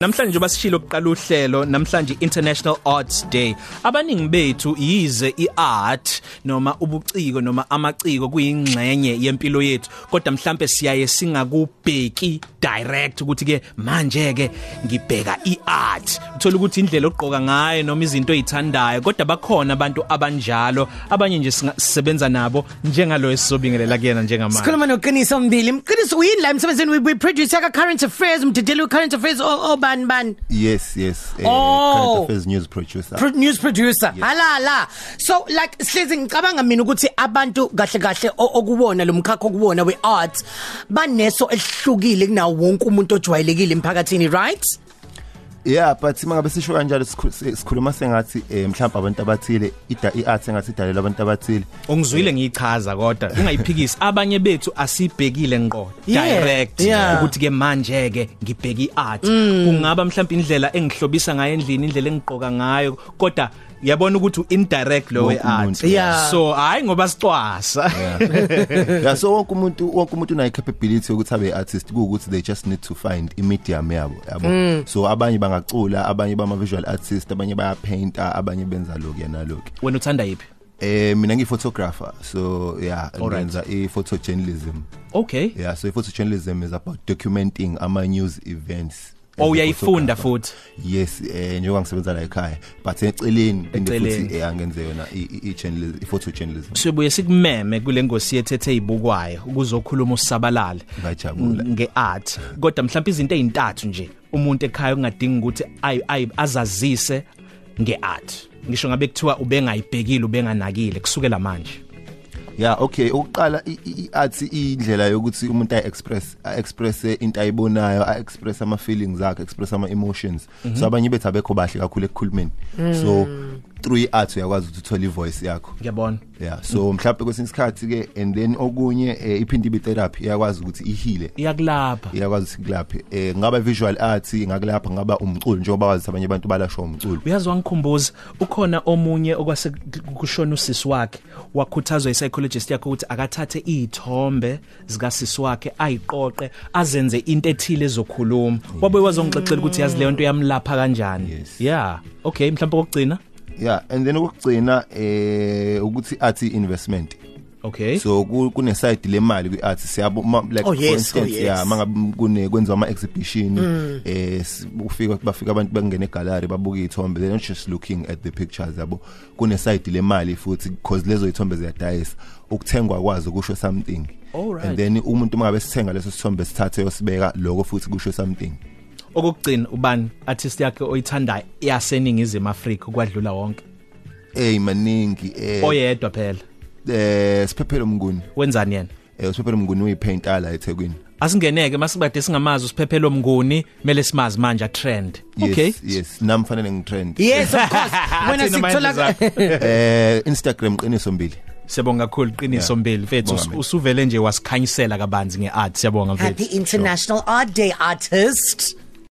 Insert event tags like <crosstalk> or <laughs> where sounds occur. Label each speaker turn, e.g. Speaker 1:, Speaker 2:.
Speaker 1: Namhlanje basishilo oqala uhlelo namhlanje International Arts Day. Abaningi bethu yize iart noma ubuciko noma amaciko kuyingxenye yempilo yethu kodwa mhlambe siyaye singakubheki direct ukuthi ke manje ke ngibheka iart. Uthola ukuthi indlela ogqoka ngayo noma izinto ezithandayo kodwa bakhona abantu abanjalo abanye nje singa- sisebenza nabo njengalo esizobingelela kuyena njengamanje.
Speaker 2: Sikhuluma noqiniso mbili. Mqiniso uyini la emsebenzini we, we produce aka current affairs umdideli we current affairs o ban ban
Speaker 3: Yes, yes. Uh,
Speaker 2: Oh.
Speaker 3: Current affairs news producer.
Speaker 2: Pro news producer. Halala. So like sihlezi ngicabanga mina ukuthi abantu kahle kahle o- okubona lo mkhakha okubona we art baneso elihlukile kunawo wonke umuntu ojwayelekile emphakathini right?
Speaker 3: yeah, but mangabe sisho kanjalo sikhu- si- sikhuluma sengathi eh, mhlawumbe abantu abathile ida- i-art sengathi idalela abantu abathile.
Speaker 1: Ungizwile ngichaza kodwa ungayiphikisi abanye bethu asibhekile ngqo
Speaker 2: Yeah,
Speaker 1: direct
Speaker 2: yeah. Mm.
Speaker 1: ukuthi ke manje ke ngibheki art kungaba mhlawumbe indlela engihlobisa ngayo endlini indlela engigqoka ngayo kodwa yabona ukuthi u indirect lo we
Speaker 3: Wonke
Speaker 1: art
Speaker 3: umuntu.
Speaker 2: Yeah.
Speaker 1: so hayi ngoba sicwasa Eh.
Speaker 3: yeah, so wonke umuntu wonke umuntu una capability ukuthi abe artist kuukuthi they just need to find i medium yabo yabo.
Speaker 1: Hmm.
Speaker 3: So abanye bangacula, abanye bama visual artist, abanye baya painter, abanye benza lokhu yana lokhu.
Speaker 1: wena uthanda yipi
Speaker 3: Eh mina ngi photographer. So yeah,
Speaker 1: Alright.
Speaker 3: ngenza i photojournalism.
Speaker 1: okay
Speaker 3: Yeah, so photojournalism is about documenting ama news events.
Speaker 1: Oh,
Speaker 3: as a
Speaker 1: uyayifunda
Speaker 3: photographer.
Speaker 1: futhi?
Speaker 3: Yes, eh njengoba ngisebenza la ekhaya, but eceleni nginde
Speaker 1: Eceleni.
Speaker 3: futhi eh, angenze yona i- i i- journalism, i photojournalism.
Speaker 1: sibuye sikumeme kule ngosi yethethe izibukwayo ukuzokhuluma usabalala
Speaker 3: Ngajabula.
Speaker 1: ngeart kodwa mhlawumbe izinto ezintathu nje umuntu ekhaya ungadingi ukuthi ay- ay- azazise ngeart ngisho ngabe kuthiwa ubengayibhekile ubenganakile kusukela manje
Speaker 3: Yeah, okay, ukuqala i- i- i-art indlela yokuthi umuntu ayiexpress, aexpress into ayibonayo, aexpress ama feelings akhe, express ama emotions. So abanye bethu abekho bahle kakhulu ekukhulumeni. So through i-art uyakwazi ukuthi uthole i-voice yakho.
Speaker 1: ngiyabona
Speaker 3: yeah so mhlawumbe kwesinye isikhathi ke and then okunye eh, iphinde ibe therapy iyakwazi ukuthi ihile
Speaker 1: iyakulapha
Speaker 3: iyakwazi ukuthi kulaphe eh ngaba visual arts ingakulapha ngaba umculo njengoba wazi abanye abantu balasho umculo
Speaker 1: uyazi wangikhumbuza ukhona omunye okwase kushona usisi wakhe wakhuthazwa i-psychologist yakhe ukuthi akathathe iy'thombe zikasisi wakhe ayiqoqe azenze into ethile ezokhuluma wabe wazongixexela ukuthi yazi leyo nto yamlapha kanjani
Speaker 3: Yes.
Speaker 1: yeah okay mhlawumbe kokugcina
Speaker 3: yeah and then ukugcina eh ukuthi art investment
Speaker 1: okay
Speaker 3: so ku- kune side lemali kwi-art siyabo ma- like
Speaker 2: Eh? Oh, yes, oh, yes. Mm.
Speaker 3: yeah mangabe kune kwenziwa ama exhibition eh s- ufika bafika abantu bangena egallery babuka izithombe they're not just looking at the pictures yabo kune side lemali futhi because lezo izithombe ziyadayisa ukuthengwa kwazo kusho something
Speaker 1: Alright.
Speaker 3: and then umuntu mangabe sithenga leso sithombe sithathe yosibeka lokho futhi kusho something
Speaker 1: okugcina ubani artist yakhe oyithandayo yaseningizimu Afrika kwadlula wonke
Speaker 3: eh maningi eh
Speaker 1: oyedwa phela
Speaker 3: eh siphephelo mnguni
Speaker 1: wenzani yena
Speaker 3: eh siphephelo mnguni uyipainter la eThekwini
Speaker 1: asingeneke masibade singamazi usiphephelo mnguni mele simazi manje a trend okay
Speaker 3: yes yes nami fanele ngitrend
Speaker 2: Yes of
Speaker 1: <laughs>
Speaker 2: course. Wena
Speaker 1: Athena
Speaker 2: sikuthola
Speaker 1: mindless
Speaker 3: eh Instagram qiniso mbili
Speaker 1: Siyabonga kakhulu qiniso mbili mfethu
Speaker 3: Bonga,
Speaker 1: usu-
Speaker 3: mate.
Speaker 1: usuvele nje wasikhanyisela kabanzi ngeart siyabonga
Speaker 2: Happy
Speaker 1: mfethu
Speaker 2: International Art Day artist.